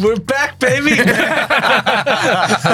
We're back baby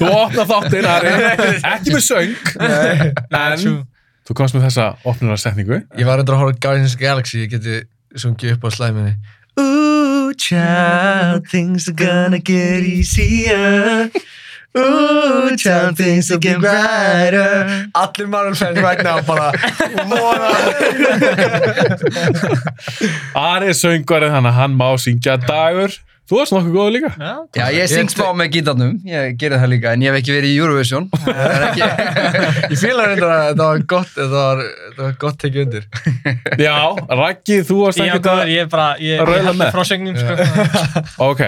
Þú opnar þáttinn, Ari Ekki með söng En True. þú komst með þessa opnunarsetningu Ég var undir að horfa á Guardians of the Galaxy, ég geti sungið upp á slæminni. Ooh, child, things are gonna get easier. Ooh, child, things are getting brighter. Allir Marvel fans right now bara, vona. Ari er söngvarinn, þannig að hann má syngja dagur Þú varst nokkuð góður líka Já, ég syng smá með gítarnum, ég gerði það líka, en ég hef ekki verið í Eurovision. Það er ekki... Ég fíla reyndar að þetta var gott, þetta var, þetta var gott tekið undir. Já, Raggi, þú varst Já, ekkert góður, ég bara, ég, Að raula ég með. hætti frásögnum, sko. Ok,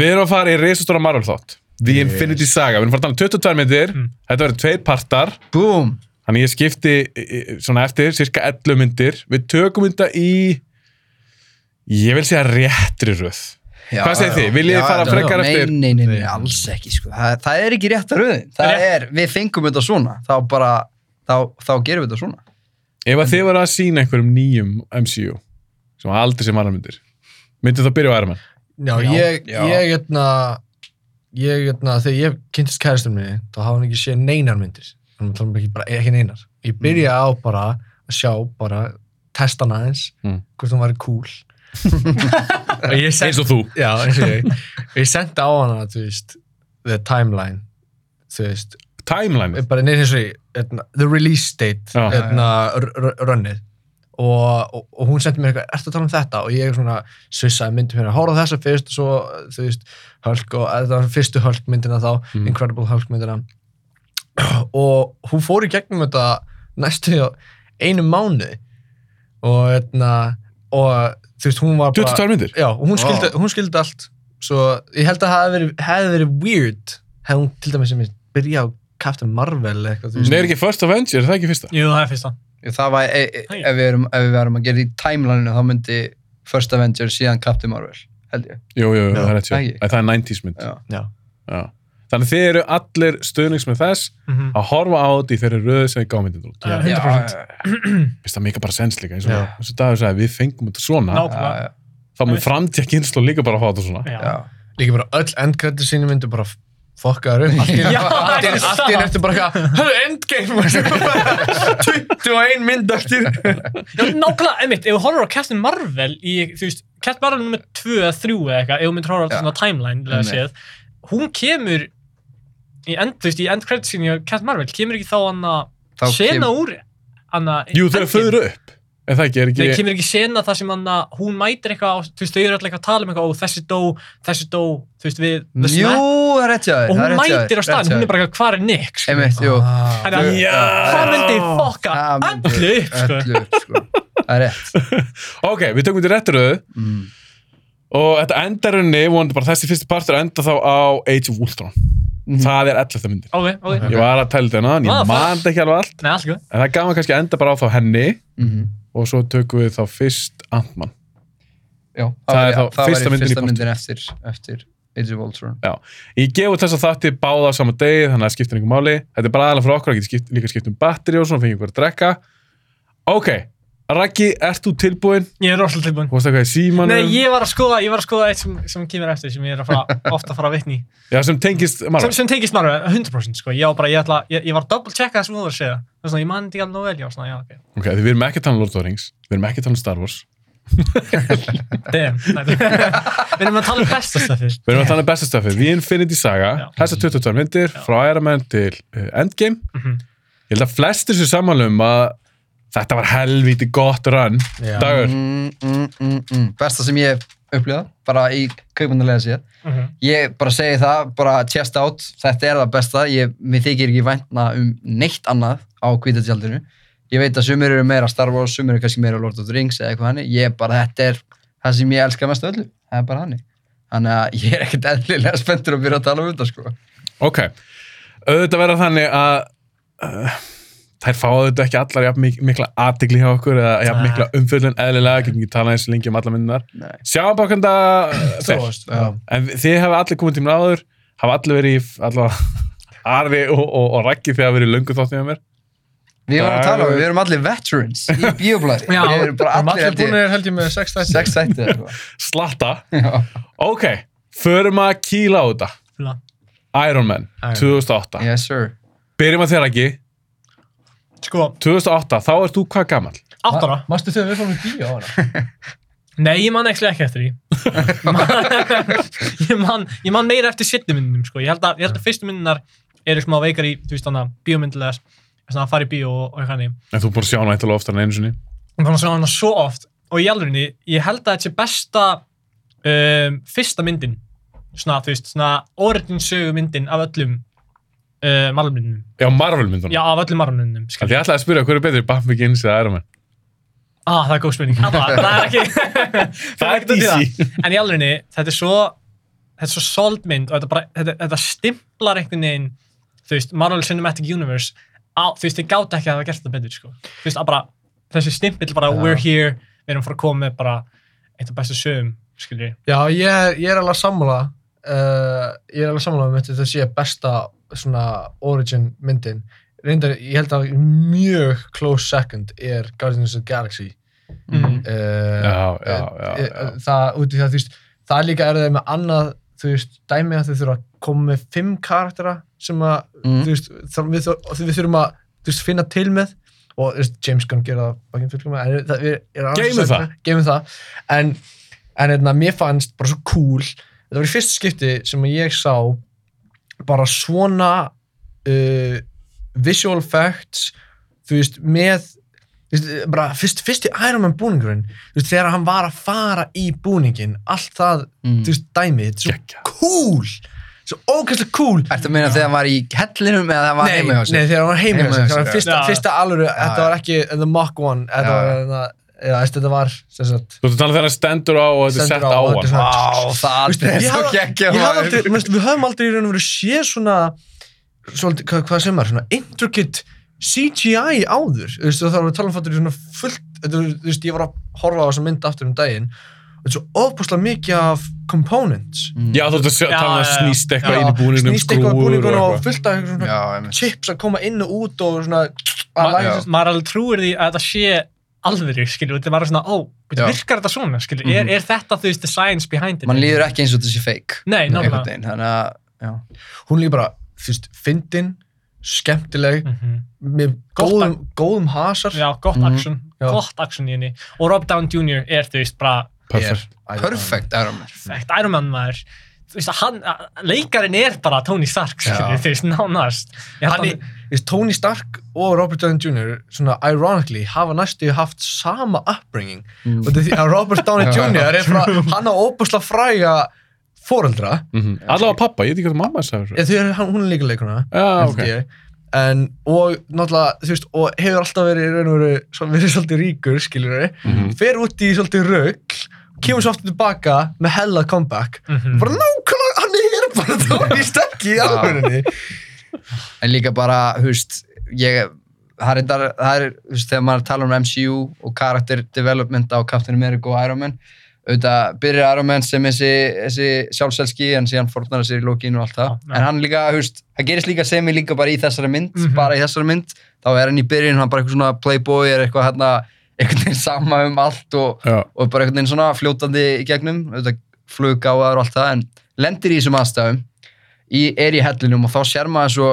við erum að fara í reisastóra Marvel þátt The Infinity Saga, við erum að fara að tala um 22 myndir Þetta verður tveir partar Búm! Þannig ég skipti e, e, svona eftir cirka 11 myndir Við tökum þetta í Ég vil segja réttri röð Já, Hvað segir já. þið? Viljið Já, þið fara já, frekar nei, eftir? Nei, nei, nei, alls ekki, sko. Það, það er ekki rétt að röðin. Það Rétt. er, við fengum þetta svona, þá bara, þá, þá gerum við þetta svona. Ef að þið voru að sína einhverjum nýjum MCU sem hafa aldrei sem annar myndir myndið þá byrja á Iron Man Já, ég, já. ég, hérna, ég, hérna, þegar ég kynntist kærastum minni, þá hafa hann ekki séð neinar myndir. Þannig að tala um ekki bara, ekki neinar. Ég byrja á bara að sjá, bara, testa hann aðeins, Mm. hvort hann væri cool. og ég eins sendi, og þú já, eins og ég, og ég sendi á hana, þú veist, the timeline, þú veist, Timeline bara neina eins og ég, hérna, the release date, Já. hérna, r- r- runnið. Og, og, og hún sendi mér eitthvað, ertu að tala um þetta? Og ég svona svissaði myndum hérna, hóra þessa fyrst og svo, þú veist, Hulk og þetta var fyrstu Hulk myndina þá, Mm. Incredible Hulk myndina. Og hún fór í gegnum þetta næstu á einu mánuði og, hérna, og þú veist, hún var 22 myndir? Já, og hún skildi, hún skildi allt svo ég held að það hefði verið, hefði verið weird hefði hún til dæmis sem ég byrja á Captain Marvel eða eitthvað, þú Nei, er ekki First Avenger, er það ekki fyrsta? Jú, það er fyrsta. Það var, e, e, Hæ. ef, við erum, ef við erum að gera í timelineu, þá myndi First Avengers síðan Captain Marvel, held ég. Jú, jú, jú, Já, það er rétt sér. ekki. Æ, Það er 90s mynd Já. Já. Já. Þannig þið eru allir stuðnings með þess Mhm. að horfa á þetta í þeirri röðu sem ég gá myndin út. Já, Já, 100%. já, Vist það mikið bara sens líka eins og, Já. eins og Dagur sagði, við fengum þetta Ná. svona já, já, þá mun framtíða kynslu líka bara að fá þetta svona. Já. já. líka bara öll endkreddi sínu myndu bara fokkaður upp allt í Já, einu- allt í það einu- er allt í einu satt. eftir bara eitthvað "Hörru, endgame 21 mynd eftir Já, nákvæmlega, einmitt, ef þú horfir á Captain Marvel í, þú veist, Captain Marvel nummer 2 eða 3 eða eitthvað, ef þú myndir horfa á Já. svona timeline, lega Einmitt. séð, hún kemur í end, þú veist, í end credits sinni á Captain Marvel, kemur ekki þá hann að Þá sena úr hann að... Jú, þau föður upp. En það ekki, er Nei, ekki... kemur ekki sena það sem hann að hún mætir eitthvað, á- þú veist, þau eru alltaf eitthvað að tala um eitthvað og þessi dó, þessi dó, þú veist, við The Snap, Jú, það er rétt hjá þér. og hún það rétt hjá þér, mætir á rétt hjá staðin, hún þér. er bara eitthvað, hvar er Nick, sko? Einmitt, jú. Ah. Þannig að- Það myndi fokka Það myndi- öllu upp, sko. Öllu upp, sko. Það er rétt. Ok, við tökum þetta í réttu röðu Mm. og þetta endar henni, vonandi bara þessi fyrsti partur enda þá á Age of Ultron. Það er 11. myndin. Ok, ok. Ég var að tella þetta hérna, en Ah, ég man fuck. þetta ekki alveg allt. Nei, allt í góð. En það er gaman kannski að enda bara á þá henni Mhm. og svo tökum við þá fyrst Ant-Man. Já, Það var- er þá það var fyrsta í myndin í fyrsta pontu. myndin eftir, eftir Age of Ultron. Ég gefu þess að þætti báða á sama degi, þannig að það skiptir einhver máli. Þetta er bara aðalega fyrir okkur, það getur skipt, líka skipt um batteri og svona, fengið einhver að drekka. Ok, Raggi, ert þú tilbúinn? Ég er rosalega tilbúin. Þú veist eitthvað í símanum? Nei, ég var að skoða, ég var að skoða eitt sem, sem kemur eftir sem ég er að fara, ofta að fara að vitni í. Já, sem tengist sem, Marvel. sem tengist margur, 100% sko. ég, var bara, ég, ætla, ég, ég var að double checka það sem þú var að segja það er svona, ég man þetta ekki alveg nógu vel, já, svona, já, ok Ok, því við erum ekki að tala um Lord of the Rings, við erum ekki að tala um Star Wars, damn, þetta er- við erum að tala um besta stöfið við erum að tala um besta stöfið, The Infinity Saga, Já. þessar 22 myndir, Já. frá Iron Man til uh, Endgame. Mhm. Ég held að flestir sér samanlum að þetta var helvíti gott run, Já. dagur. Mm, mm, mm, mm. Besta sem ég upplýða, bara í kaupmannulega sér. Mhm. Ég bara segi það, bara chest out, þetta er það besta. Ég, mér þykir ekki væntna um neitt annað á kvítatjaldinu. Ég veit að sumir eru meira Star Wars, sumir eru kannski meira Lord of the Rings eða eitthvað hannig. Ég bara, þetta er það sem ég elska mest af öllu. Það er bara hannig. Þannig að ég er ekkert eðlilega spenntur að byrja að tala um þetta, sko. Ok, auðvitað verða þannig að uh, þær fáðu þetta ekki allar jafn mik mikla aðtikli hjá okkur eða jafn Nei. mikla umfyllun eðlilega, getum ekki talað eins lengi um alla myndunar. Nei. Sjáum bara hvernig það uh, fer. Þróast, já. En þið hafa allir komið tímur áður, hafa allir verið í allavega Ari og, og, og Raggi þegar hafa verið í löngu þáttum hjá mér. Við varum að tala um, Dagur. við erum allir veterans í bioblæði. Já, við erum bara allir, Erum um allir allir búinir held ég með sex þætti sex þætti eða eitthvað. Slatta. Já. Ok, Förum að kýla á þetta. Fíla. Iron Man, Iron Man. 2008. Yes, sir. Byrjum að þér ekki. Sko, 2008, þá ert þú hvað gammal? áttara. Mástu þau að við fórum í bíó á hana? Nei, ég man ekki ekki eftir því. ég, man, ég man meira eftir sittum myndunum, sko. Ég held að, ég held að fyrstu myndunar eru smá veikar í, þú veist, þannig að bíómyndilegar, þannig að fara í bíó og, og eitthvað hannig. En þú er búin að sjá hana eitthvað oftar en einu sinni. Ég fann að sjá hana svo oft og í alvegni, ég held að þetta sé besta um, fyrsta myndin, svona, þú veist, svona originsögu myndin af öllum uh, marlumlindunum. Já, Marvel myndunum. Já, af öllum marlumlindunum, Því ég ætlaði að spyrja hverju er betri, Batman Begins eða Iron Man. Ah, það er góð spurning. Alla, það er ekki... Það er DC. En í alvegni, þetta er svo... Þetta er svo sold mynd og þetta, bara, þetta, þetta stimplar einhvern veginn, þú veist, Marvel Cinematic Universe, á, þú veist, þið gáta ekki að hafa gert þetta betur, sko. Þú veist, að bara, þessi stimpill bara, Já. we're here, við erum fyrir að koma með bara eitt af bestu sögum, skiljið. Já, ég er, ég er alveg sammála uh, ég er alveg sammála um þetta sé besta svona origin myndin reyndar, ég held að mjög close second er Guardians of the Galaxy Mm. Mhm. uh, Já, já, já. Eh, já. það út í það, þú veist, það er líka erðið með annað, þú veist, dæmi að þau þurfa að koma með fimm karaktera sem að, Mm. þú veist, það, við, þur- og við þurfum að, þú veist, finna til með og þú veist, James Gunn gera það bakinn fullkoma, en það er, er aðeins að Geymum segja- geymum það, en, en hérna, mér fannst bara svo cool, þetta var í fyrsta skipti sem að ég sá bara svona uh, visual effects, þú veist, með þú veist, bara fyrst, fyrst í Iron Man búningurinn þú veist, þegar hann var að fara í búningin allt það, Mm. þú veist, dæmið þetta er Geggjað. svo cool, svo ógæslega cool Ertu að meina þegar hann var í hellinum eða það var nei, heima hjá sig? nei, þegar hann var heima Heima hjá hjá sér, sér, þegar hann já. fyrsta, Já. fyrsta alvöru, þetta já. var ekki The Mach 1, Já, þetta var já. hérna, já, veist, þetta var, sem sagt Þú ert að tala um þegar hann stendur á og þetta er stendur sett á og hann. þetta er svona- Vá, það Veistu, er ég svo hafði- geggjað Ég hafði maður. aldrei, mennst, við höfum aldrei í raun og verið séð svona, svolítið, hvað, hvað sem er, svona intricate CGI áður, þú veist, þá erum við að tala um fattur í svona fullt, þetta er- þú veist, ég var að horfa á þessa mynd aftur um daginn, og þetta er svo ofbúslega mikið af components, Mm. Já, þú ert að sjá- Já, tala um já, að já. snýst Já, eitthvað inn í búningnum, snýst skrúur eitthvað og búningun og eitthvað. fullt af einhverjum svona Já, einmitt. chips að koma inn og út og svona, að Ma- læsa, já. maður alveg trúir því að þetta sé alvöru, skilju, þetta er bara svona, ó, Já. Mhm. byrju, virkar þetta svona, skilju, er, er þetta, þú veist, the science behind it? Man líður ekki eins og þetta sé fake. Nei, Einhvern nákvæmlega. veginn, þannig að, já. hún líka bara, þú veist, fyndin, skemmtileg, Mhm. með Gott góðum, góðum hasar, Já, gott Mhm. action, Já. gott action í henni. Og Rob Down Jr. er, þú veist, bara, Perfekt. Iron Man. Perfect Iron Man. perfekt, Iron Man maður. Þú veist, að hann, að- leikarin er bara Tony Stark, skilju, Já. þú veist, nánast. Ég held hann er, þú veist, Tony Stark og Robert Downey Jr. svona ironically hafa næstu haft sama upbringing Mm. og þetta er því að Robert Downey Já. Jr. er frá, hann á óbúslega fræga foreldra, Mhm. Allavega pappa, ég veit ekki hvað mamma sagði. þessu. eða því er hann, hún er líka leikuna Já, Ah, ok. en, og náttúrulega, þú veist, og hefur alltaf verið í raun og veru, svo- verið svolítið ríkur skilur við, Mhm. fer út í svolítið rögg kemur svo aftur tilbaka með hella comeback Mhm. bara nákvæmlega, hann er bara Tony Stark í alvörunni En líka bara, húst, ég, það er, reyndar- það er, húst, þegar maður tala um MCU og karakter development á Captain America og Iron Man, auðvitað byrjar Iron Man sem þessi, þessi sjálfselski en síðan fornar hann sér í lókinu og allt það. Já, já. En hann líka, húst, það gerist líka sem ég líka bara í þessari mynd, Mhm. bara í þessari mynd, þá er hann í byrjun, hann bara eitthvað svona playboy, er eitthvað hérna, einhvern veginn sama um allt og, Já. og bara einhvern veginn svona fljótandi í gegnum auðvitað fluggáðar og allt það en lendir í þessum aðstæðum í, er í hellinum og þá sér maður svo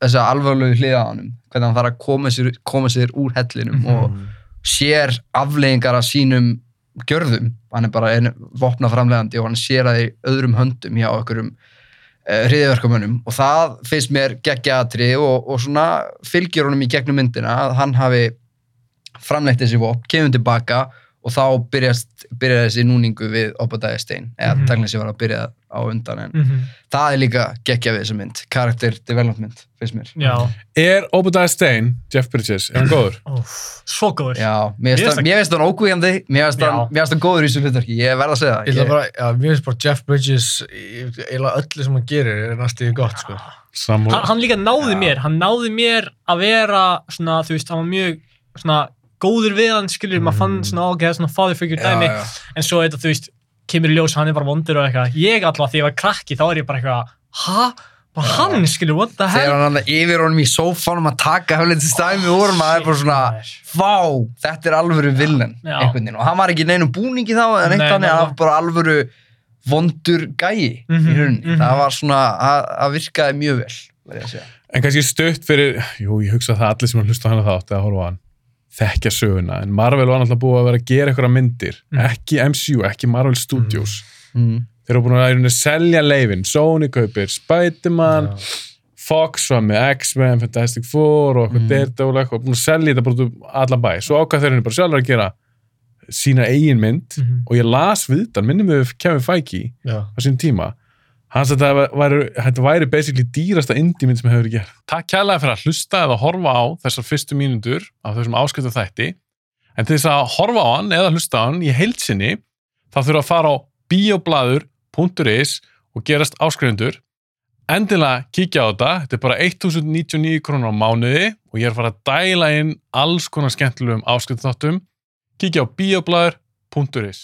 þessa alvarlegu hliða á honum hvernig hann þarf að koma sér, koma sér úr Mhm. hellinum og sér afleggingar af sínum gjörðum hann er bara einu vopnaframlegandi og hann sér að í öðrum höndum hjá okkurum uh, hriðiverkamönnum og það finnst mér geggjaðatri og, og svona fylgjur honum í gegnum myndina að hann hafi framleitt þessi vopn, kemur tilbaka og þá byrjast, byrjar þessi núningu við Obadiah Stein, eða mm Mhm. -hmm. tæknir sem var að byrja á undan en Mhm. það er líka geggja við þessa mynd, character development finnst mér. Já, Er Obadiah Stane, Jeff Bridges, er hann góður? óf, svo góður. Já, Mér finnst mér finnst það- hann- mér finnst hann ókvíðandi, mér finnst Já. hann- mér finnst hann góður í þessu hlutverki, ég verð að segja það. Ég ætla Ég, bara, já, mér finnst bara Jeff Bridges í- eiginlega öllu sem hann gerir er næstíði gott, sko. Hann, Samúl. hann líka náði Já. mér, hann náði mér að vera svona, þú veist, hann var mjög svona góður við hann, skilur, maður fann svona ágæða svona father figure dæmi, Mhm. já, já. en svo þetta, þú veist, kemur í ljós hann er bara vondur og eitthvað, ég alltaf því ég var krakki þá er ég bara eitthvað, ha? Bara hann, skilur, what the Þegar hell? hann alltaf yfir honum í sófanum að taka höflið til stæmi úr honum, það er bara svona, vá, þetta er alvöru villen, Já. einhvern veginn. Og hann var ekki í neinum búningi þá, Nei, en eitt hann nei, er nei. bara alvöru vondur gæi Mhm, í rauninni. mhm. Það var svona, að að virkaði mjög vel, verður ég að segja. En kannski stutt fyrir, jú, ég hugsa að það allir sem hlusta á hana þátt eða horfa á hann, þekkja söguna, en Marvel var náttúrulega búið að vera að gera eitthvað myndir, Mm. ekki MCU, ekki Marvel Studios. Mhm. Mm. Þeir eru búin að í rauninni selja leifin, Sony kaupir Spiderman, Fox var með X-Men, Fantastic Four og eitthvað Mm. Daredevil og eitthvað, búin að selja þetta bara út um allan bæ. Svo ákvað þeir henni bara sjálfur að gera sína eigin mynd Mhm. og ég las viðtal, minnum við Kevin Feige Já. á sín tíma hann sagði að það væri, þetta væri basically dýrasta indie mynd sem hefur verið gert. Takk kærlega fyrir að hlusta eða horfa á þessar fyrstu mínútur af þessum áskiptu þætti en til þess að horfa á hann eða hlusta á hann í heilsinni þá þurfa að fara á bioblaður.is og gerast áskrifundur endilega kíkja á þetta þetta er bara 1099 krónur á mánuði og ég er að fara að dæla inn alls konar skemmtilegum áskiptu þáttum kíkja á bioblaður.is